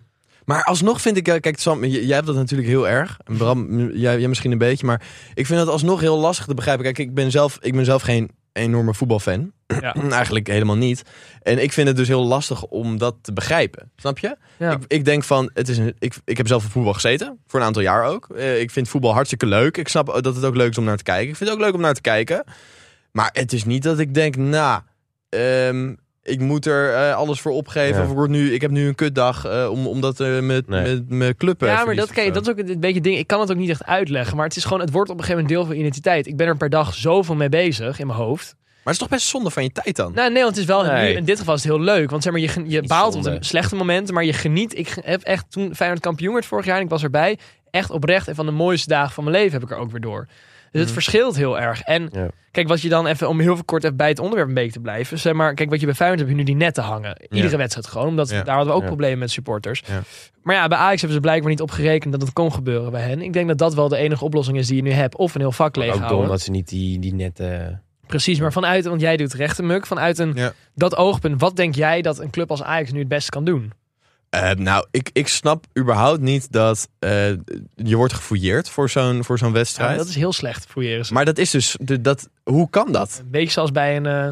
Maar alsnog vind ik, eh, kijk Sam, j- jij hebt dat natuurlijk heel erg. En Bram, m- jij, jij misschien een beetje, maar ik vind dat alsnog heel lastig te begrijpen. Kijk, ik ben zelf, ik ben zelf geen enorme voetbalfan. Ja. Nou, Eigenlijk helemaal niet. En ik vind het dus heel lastig om dat te begrijpen. Snap je? Ja. Ik, ik denk van, het is een, ik, ik heb zelf op voetbal gezeten. Voor een aantal jaar ook. Eh, ik vind voetbal hartstikke leuk. Ik snap dat het ook leuk is om naar te kijken. Ik vind het ook leuk om naar te kijken. Maar het is niet dat ik denk, nou, ehm, ik moet er eh, alles voor opgeven. Ja. Of ik, word nu, ik heb nu een kutdag eh, om, omdat eh, mijn Nee. mijn- mijn club. eh, Ja, maar verliest dat, of kijk, zo. dat is ook een beetje het ding. Ik kan het ook niet echt uitleggen. Maar het is gewoon, het wordt op een gegeven moment deel van identiteit. Ik ben er per dag zoveel mee bezig in mijn hoofd. Maar het is toch best zonde van je tijd dan? Nou, nee, want het is wel Nee. nu, in dit geval is het heel leuk. Want zeg maar, je, gen- je Niet baalt op de zonde. slechte momenten, maar je geniet. Ik ge- heb echt toen Feyenoord kampioen werd vorig jaar en ik was erbij. Echt oprecht en van de mooiste dagen van mijn leven heb ik er ook weer door. Dus het verschilt heel erg. En Mhm. Ja. kijk, wat je dan even, om heel veel kort even bij het onderwerp een beetje te blijven. Zeg maar, kijk, wat je bij Feyenoord hebt, heb je nu die netten hangen. Iedere Ja. wedstrijd gewoon, omdat Ja. daar hadden we ook Ja. problemen met supporters. Ja. Maar ja, bij Ajax hebben ze blijkbaar niet op gerekend dat het kon gebeuren bij hen. Ik denk dat dat wel de enige oplossing is die je nu hebt. Of een heel vak ook dom leeghouden. dat ze niet die, die eh, nette... Hm. Precies, maar vanuit, want jij doet rechten, Muk. Vanuit een, Ja. dat oogpunt, wat denk jij dat een club als Ajax nu het beste kan doen? Eh, nou, ik, ik snap überhaupt niet dat eh, je wordt gefouilleerd voor zo'n voor zo'n wedstrijd. Ja, dat is heel slecht, fouilleren ze. Maar dat is dus, de- dat, hoe kan dat? Een beetje zoals bij een, eh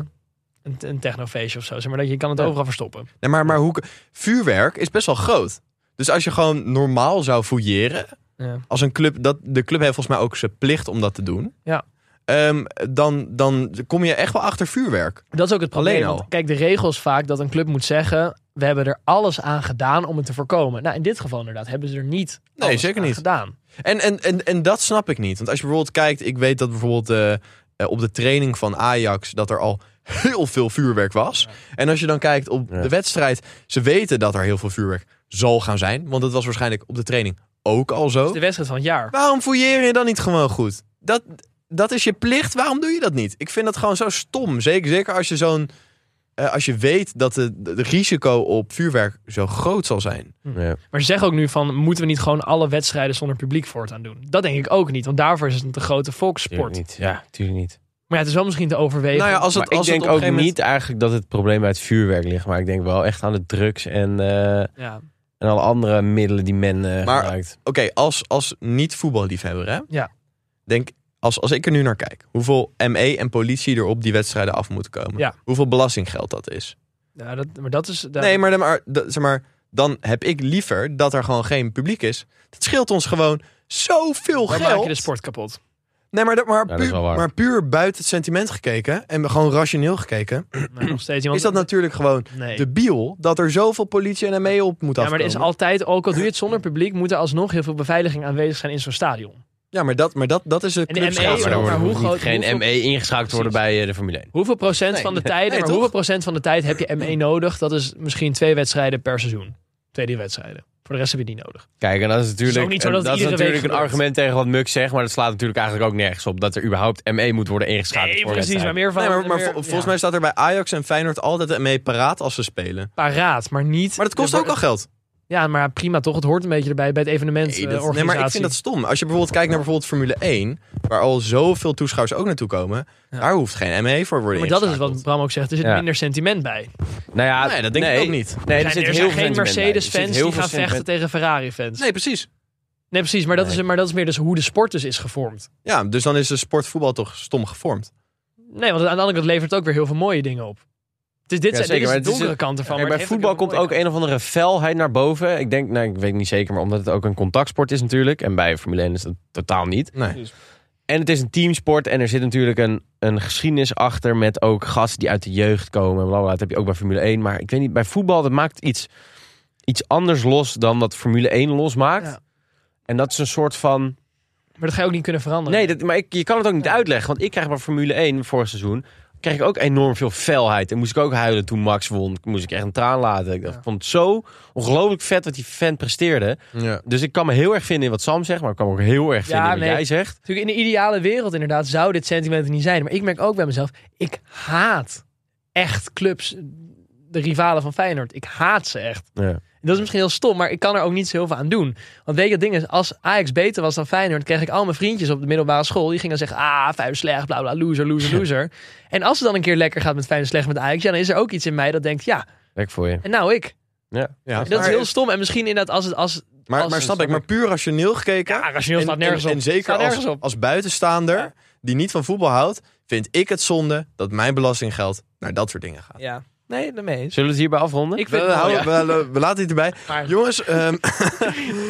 een, een technofeestje of zo. Zeg maar, dat je kan het Ja. overal verstoppen. Nee, maar, maar hoe... Vuurwerk is best wel groot. Dus als je gewoon normaal zou fouilleren... Ja. Als een club... Dat, de club heeft volgens mij ook zijn plicht om dat te doen. Ja. Ehm, dan, dan kom je echt wel achter vuurwerk. Dat is ook het probleem. Alleen al. want kijk, de regels vaak dat een club moet zeggen... we hebben er alles aan gedaan om het te voorkomen. Nou, in dit geval inderdaad hebben ze er niet Nee, alles zeker aan niet. gedaan. En, en, en, en dat snap ik niet. Want als je bijvoorbeeld kijkt... Ik weet dat bijvoorbeeld eh, eh, op de training van Ajax... dat er al heel veel vuurwerk was. En als je dan kijkt op Ja. de wedstrijd... ze weten dat er heel veel vuurwerk zal gaan zijn. Want dat was waarschijnlijk op de training ook al zo. Dat is de wedstrijd van het jaar. Waarom fouilleer je dan niet gewoon goed? Dat, dat is je plicht. Waarom doe je dat niet? Ik vind dat gewoon zo stom. Zeker, zeker als je zo'n eh, als je weet dat het de- de risico op vuurwerk zo groot zal zijn. Ja. Maar ze zeggen ook nu van, moeten we niet gewoon alle wedstrijden zonder publiek voortaan doen? Dat denk ik ook niet, want daarvoor is het een te grote Tuurlijk volkssport. niet. Ja, tuurlijk niet. Maar ja, het is wel misschien te overwegen. Nou ja, als het, maar ik als denk het op ook een gegeven moment- niet eigenlijk dat het probleem bij het vuurwerk ligt. Maar ik denk wel echt aan de drugs en, eh, ja. en alle andere middelen die men eh, Maar- gebruikt. Oké, als, als niet voetballiefhebber, hè? Ja. Denk, als, als ik er nu naar kijk, hoeveel ME en politie er op die wedstrijden af moeten komen. Ja. Hoeveel belastinggeld dat is. Ja, dat, maar dat is... dat- Nee, maar, maar, dat- zeg maar dan heb ik liever dat er gewoon geen publiek is. Dat scheelt ons gewoon zoveel dan maak geld. je de sport kapot. Nee, maar, dat- maar, dat is puur, wel waar. maar puur buiten het sentiment gekeken en gewoon rationeel gekeken, Maar nog steeds iemand... is dat natuurlijk gewoon Nee. debiel dat er zoveel politie en ME op moet Ja, maar afkomen. er is altijd, ook al doe je het zonder publiek, moet er alsnog heel veel beveiliging aanwezig zijn in zo'n stadion. Ja, maar dat, maar dat, dat is een En de clubs- ME Ja, maar maar dan dat- wordt- er hoe hoeft niet groot- geen hoeveel- ME ingeschakeld worden bij eh, de Formule 1. Hoeveel procent van de tijden, nee, maar toch? hoeveel procent van de tijd heb je ME nodig? Dat is misschien twee wedstrijden per seizoen. Twee, drie wedstrijden. Voor de rest heb je het niet nodig. Kijk, en dat is Het is natuurlijk, ook niet zo dat dat is het iedere natuurlijk week een gebeurt. argument tegen wat Muk zegt. Maar dat slaat natuurlijk eigenlijk ook nergens op dat er überhaupt ME moet worden ingeschakeld. Nee, voor precies. Maar wedstrijden. meer van... Nee, maar, maar meer- vol- volgens ja. mij staat er bij Ajax en Feyenoord altijd de ME paraat als ze spelen. Paraat, maar niet... Maar dat kost er ook al wordt- geld. Ja, maar prima toch. Het hoort een beetje erbij bij het evenement. Nee, eh, dat- nee, maar ik organisatie. vind dat stom. Als je bijvoorbeeld kijkt naar bijvoorbeeld Formule 1, waar al zoveel toeschouwers ook naartoe komen, Ja. daar hoeft geen ME voor worden Maar dat is ingeschakeld. wat Bram ook zegt. Er zit Ja. minder sentiment bij. Nou ja, Nee, dat denk ik ook niet. Nee, Er er zijn, zit heel er zijn veel geen sentiment bij. Er zit Mercedes-fans heel die veel gaan sentiment- vechten tegen Ferrari-fans. Nee, Nee, precies. precies. Maar dat, Nee. Is, maar dat is meer dus hoe de sport dus is gevormd. Ja, dus dan is de sportvoetbal toch stom gevormd. Nee, want aan de andere kant levert het ook weer heel veel mooie dingen op. Het is, dit, Ja, zijn, zeker, dit maar is het de is donkere een- kant ervan. Kijk, maar bij het heeft voetbal komt heel ook veel mooie een of andere felheid naar boven. Ik denk, nou, ik weet niet zeker, maar omdat het ook een contactsport is natuurlijk. En bij Formule 1 is dat totaal niet. Nee. En het is een teamsport en er zit natuurlijk een, een geschiedenis achter met ook gasten die uit de jeugd komen. Bla bla, bla. dat heb je ook bij Formule 1. Maar ik weet niet, bij voetbal dat maakt iets, iets anders los dan wat Formule 1 losmaakt. Ja. En dat is een soort van... kant. Maar dat ga je ook niet kunnen veranderen. Nee, dat, maar ik, je kan het ook niet uitleggen. Want ik krijg bij Formule 1 vorig seizoen... kreeg ik ook enorm veel felheid. En moest ik ook huilen toen Max won. Moest ik echt een traan laten. Ik dacht, Ja. ik vond het zo ongelooflijk vet wat die vent presteerde. Ja. Dus ik kan me heel erg vinden in wat Sam zegt... maar ik kan me ook heel erg vinden Ja, in wat nee. jij zegt. Natuurlijk, in de ideale wereld inderdaad zou dit sentiment er niet zijn. Maar ik merk ook bij mezelf, ik haat echt clubs, de rivalen van Feyenoord. Ik haat ze echt. Ja. En Dat is misschien heel stom, maar ik kan er ook niet zoveel aan doen. Want weet je, het ding is, als Ajax beter was dan Feyenoord... kreeg ik al mijn vriendjes op de middelbare school. Die gingen dan zeggen, ah, Feyenoord slecht, bla bla, loser, loser, loser. en als het dan een keer lekker gaat met Feyenoord slecht met Ajax... ja, dan is er ook iets in mij dat denkt, ja, Leuk voor je. en nou ik. Ja. Ja. En dat is heel stom. En misschien inderdaad als het... Als, Maar, als maar het- snap ik, maar puur rationeel gekeken. Ja, rationeel staat nergens en, op. en zeker Staat nergens als, op. als buitenstaander die niet van voetbal houdt, vind ik het zonde dat mijn belastinggeld naar dat soort dingen gaat. Ja, nee, daarmee eens. Zullen we het hierbij afronden? Ik We, vind het wel, houden- ja. we, we laten het erbij. Maar- Jongens, ehm,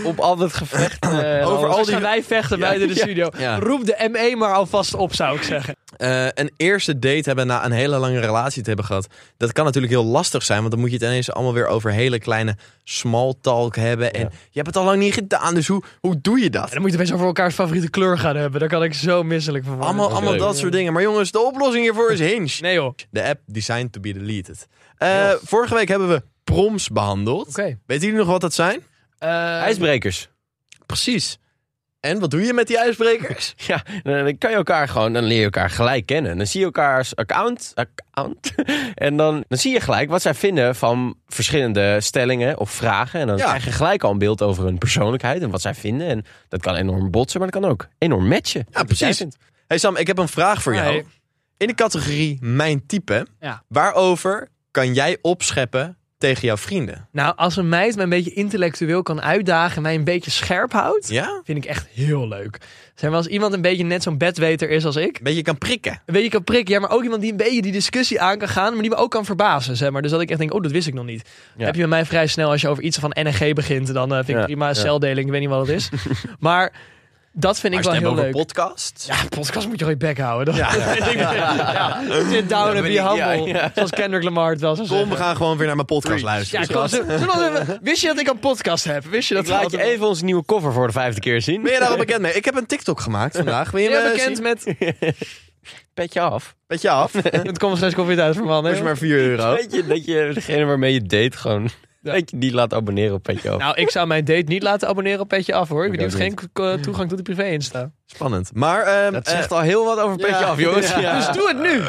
op al dat gevecht... eh, Over Over al al die- gaan wij vechten buiten de studio. Ja. Roep de ME maar alvast op, zou ik zeggen. eh, een eerste date hebben na een hele lange relatie te hebben gehad. Dat kan natuurlijk heel lastig zijn, want dan moet je het ineens allemaal weer over hele kleine small talk hebben. En Ja. je hebt het al lang niet gedaan, dus hoe, hoe doe je dat? En dan moet je best over elkaars favoriete kleur gaan hebben. Daar kan ik zo misselijk van worden. Allemaal, allemaal leuk. dat soort dingen. Maar jongens, de oplossing hiervoor is Hinge. Nee joh. Oké. De app designed to be deleted. Eh, vorige week hebben we proms behandeld. Weten jullie nog wat dat zijn? Eh, ijsbrekers. Precies. En wat doe je met die ijsbrekers? Ja, dan kan je elkaar gewoon... Dan leer je elkaar gelijk kennen. Dan zie je elkaars account... account en dan, dan zie je gelijk wat zij vinden van verschillende stellingen of vragen. En dan Ja. krijg je gelijk al een beeld over hun persoonlijkheid en wat zij vinden. En dat kan enorm botsen, maar dat kan ook enorm matchen. Wat jij precies. vindt. hey Sam, ik heb een vraag voor jou. Hey. In de categorie mijn type, Ja. waarover kan jij opscheppen tegen jouw vrienden? Nou, als een meid me een beetje intellectueel kan uitdagen en mij een beetje scherp houdt, Ja? vind ik echt heel leuk. Zeg maar, als iemand een beetje net zo'n bedweter is als ik, Een beetje kan prikken. een beetje kan prikken, ja, maar ook iemand die een beetje die discussie aan kan gaan, maar die me ook kan verbazen, zeg maar. Dus dat ik echt denk, oh, dat wist ik nog niet. Ja. Heb je bij mij vrij snel, als je over iets van NNG begint, dan eh, vind ik Ja, prima, ja. celdeling, ik weet niet wat het is. maar dat vind ik Als je wel het hebt heel over leuk. podcast. Ja, podcast moet je gewoon je bek houden. Ja. ja. Sit down and ben be ik, ja, humble. ja. Zoals Kendrick Lamar het wel zou Kom, zeggen. we gaan gewoon weer naar mijn podcast Ja, luisteren. kom, zullen we nog even- wist je dat ik een podcast heb? Wist je dat? Ik laat je altijd- even onze nieuwe cover voor de vijfde keer zien. Ben je daar al bekend mee? Ik heb een TikTok gemaakt vandaag. Ben je Ben me eh, jij zien? bekend met... Petje af. Met je af? Dat Het komt straks koffie thuis voor is mannen. maar 4 euro. Weet je, dat je degene waarmee je date gewoon... Dat je die laat abonneren op Petje af. Nou, ik zou mijn date niet laten abonneren op Petje Af, hoor. Ik Ik bedoel, ook geen eh, toegang tot de privé-insta. Spannend. Maar, ehm, dat eh, zegt al heel wat over Petje ja. af, jongens. Ja. Ja. Dus doe het nu!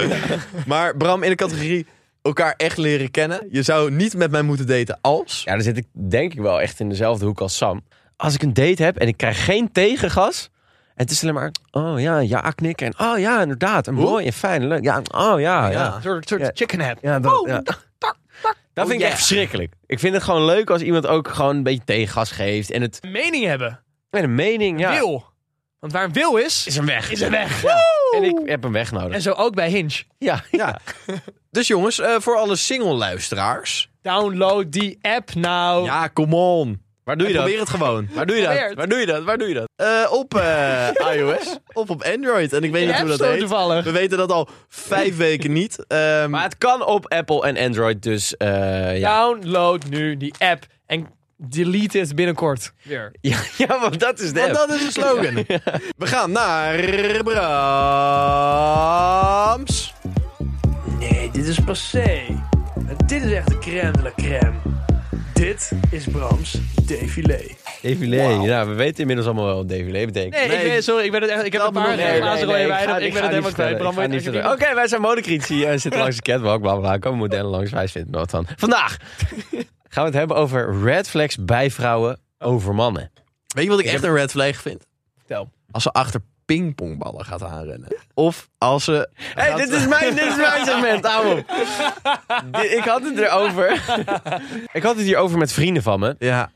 maar Bram, in de categorie elkaar echt leren kennen. Je zou niet met mij moeten daten als. Ja, dan zit ik denk ik wel echt in dezelfde hoek als Sam. Als ik een date heb en ik krijg geen tegengas. En het is alleen maar, oh ja, ja knikken. En oh ja, inderdaad. En mooi en fijn en leuk. Ja, oh ja, ja. Een soort, soort Ja. chicken Oh, head. Ja, dat, ja. dat vind ik echt verschrikkelijk. Ik vind het gewoon leuk als iemand ook gewoon een beetje tegengas geeft. En het Een mening hebben. met een mening, ja. Wil. Want waar een wil is, Is hem weg. is een weg. En ik heb hem weg nodig. En zo ook bij Hinge. Ja, Ja. dus jongens, eh, voor alle single luisteraars. Download die app nou. Ja, come on. Oh. Waar doe je dat? Probeer het gewoon. Waar doe je dat? Probeer het. Waar doe je dat? Waar doe je dat? Eh, op eh, iOS of op Android. En ik weet De niet hoe App dat Store heet. toevallig. We weten dat al vijf weken niet. Ehm, Maar het kan op Apple en Android, dus eh, ja. Download nu die app en delete het binnenkort. Weer. Ja, ja, want dat is de want app. dat is de slogan. We gaan naar Brams. Nee, dit is passé. En dit is echt de crème de la crème. Dit is Brams défilé. Defilé. Ja, we weten inmiddels allemaal wel wat defilé betekent. Nee, Nee, ik ben, sorry, ik ben het echt. Ik heb vertel een paar Oh, me nog meer. glazen rode wijn. ga- dat- Ik ga ben het helemaal niet kwijt. vertellen. Bram, Ik ga weet niet je vertellen. Oké, wij zijn modecritici. en zitten langs de catwalk, bla bla bla. Komen modellen langs, wij vinden wat van. Vandaag gaan we het hebben over red flags bij vrouwen over mannen. Weet je wat ik echt een red flag vind? Vertel. Als ze achter pingpongballen gaat aanrennen. Of als ze... Hé, hey, dit, is mijn- dit is mijn segment, hou op. Di- ik had het erover. ik had het hierover met vrienden van me. Ja,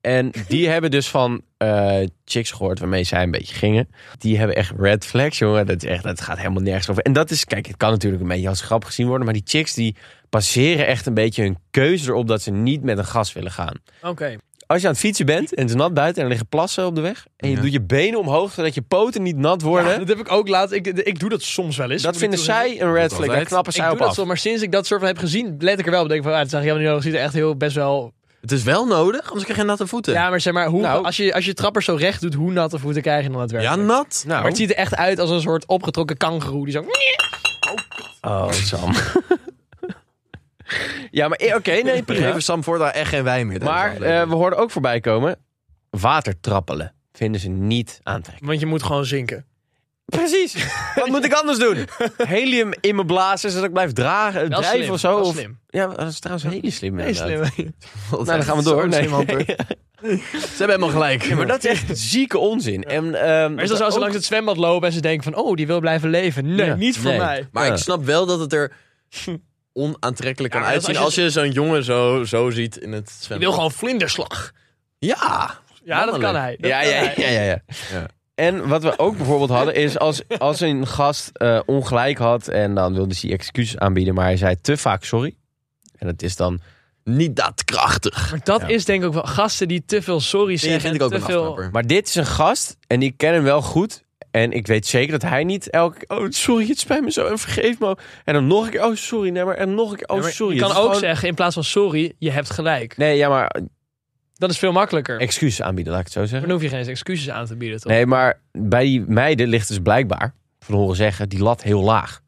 En die hebben dus van eh, chicks gehoord waarmee zij een beetje gingen. Die hebben echt red flags, jongen. Dat, is echt, dat gaat helemaal nergens over. En dat is, kijk, het kan natuurlijk een beetje als grap gezien worden. Maar die chicks die baseren echt een beetje hun keuze erop dat ze niet met een gast willen gaan. Oké. Als je aan het fietsen bent en het is nat buiten en er liggen plassen op de weg. En je Ja. doet je benen omhoog zodat je poten niet nat worden. Ja, dat heb ik ook laatst. Ik, ik doe dat soms wel eens. dat moet vinden ik toegeven. zij een red Dat flag. Daar altijd. knappen zij Ik op doe dat af. soms, maar sinds ik dat soort van heb gezien, let ik er wel op. Denk ik van, ah, dat zag je helemaal niet nodig. Ziet er echt heel best wel. het is wel nodig, anders krijg je natte voeten. Ja, maar zeg maar, hoe, Nou. als, je, als je trappers zo recht doet, hoe natte voeten krijg je dan daadwerkelijk? Ja, nat. Nou, Maar het ziet er echt uit als een soort opgetrokken kangeroe die zo. oh Sam. ja, maar eh, oké, nee, We prima. geven Sam voor daar echt geen wijn meer. Maar eh, we hoorden ook voorbij komen. Watertrappelen vinden ze niet aantrekkelijk. Want je moet gewoon zinken. Precies. Wat moet ik anders doen? Helium in mijn blazen zodat ik blijf dragen, Wel drijven slim, of zo. wel of- slim. Ja, dat is trouwens hele slim. Nee, inderdaad. slim. nou, Nou, dan gaan we door. Nee. Ze hebben helemaal gelijk. Ja, maar dat is echt zieke onzin. En, ehm, Maar is dat zo als ze langs het zwembad lopen en ze denken van, oh, die wil blijven leven. Nee, Ja. niet voor Nee. mij. Maar Ja. ik snap wel dat het er onaantrekkelijk kan Ja, maar dat uitzien als als je, je zo'n jongen zo, zo ziet in het Die zwembad. wil gewoon vlinderslag. Ja, Ja, dat kan Mannelijk. hij. Dat Ja, kan ja, hij. ja, ja, ja. Ja. En wat we ook bijvoorbeeld hadden is als, als een gast eh, ongelijk had en dan wilde ze excuses aanbieden, maar hij zei te vaak sorry. En dat is dan niet daadkrachtig. Maar dat Ja. is denk ik ook wel gasten die te veel sorry Die zeggen. vind ik ook te een veel... afknapper. Maar dit is een gast en ik ken hem wel goed. En ik weet zeker dat hij niet elke oh sorry, het spijt me zo en vergeef me. En dan nog een keer, oh sorry, nee maar, en nog een keer, oh Ja, maar sorry. Je kan Het ook is gewoon- zeggen, in plaats van sorry, je hebt gelijk. Nee, ja maar Dat is veel makkelijker. excuses aanbieden, laat ik het zo Dan zeggen. hoef je geen eens excuses aan te bieden, toch? Nee, maar bij die meiden ligt dus blijkbaar, van horen zeggen, die lat heel laag.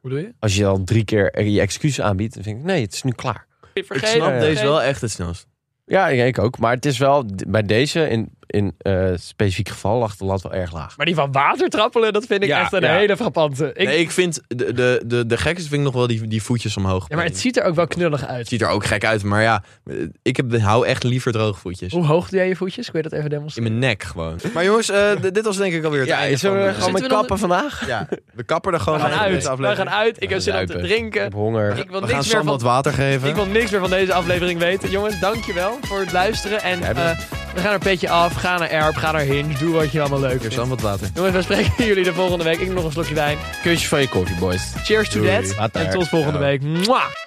Hoe doe je? Als je al drie keer je excuses aanbiedt, dan denk ik, nee, het is nu klaar. Ik Vergeet, snap ja. deze wel echt het snelst. Ja, ik- ik ook. Maar het is wel, d- bij deze in, in eh, specifiek geval lag de lat wel erg laag. Maar die van water trappelen, dat vind ik Ja, echt een ja. hele frappante. Ik... Nee, ik vind de, de, de, de gekste vind ik nog wel die, die voetjes omhoog. Ja, maar het Het ziet er ook wel knullig uit. ziet er ook gek uit, maar ja, ik heb, hou echt liever droge voetjes. Hoe hoog doe jij je voetjes? Kun je dat even In demonstreren? mijn nek gewoon. Maar jongens, eh, d- dit was denk ik alweer het Ja, einde is er van... gewoon eh, met Zitten we dan- kappen vandaag? ja, we kappen er gewoon We gaan af met uit. deze We aflevering. gaan uit. Ik heb zin om te Zuipen. drinken. Ik heb honger. Ik wil We gaan niks meer Sam van wat water Ik geven. wil niks meer van deze aflevering weten. Jongens, dankjewel voor het luisteren. En Jij eh, bent- we gaan er petje af. Ga naar Erp, ga naar Hinge. Doe wat je allemaal leuk Hier, vindt. Sam wat water. Jongens, we spreken jullie de volgende week. Ik neem nog een slokje wijn. Kusje van je koffie, boys. Cheers to Doei. that. Later. En tot volgende Ja. week. Mwah.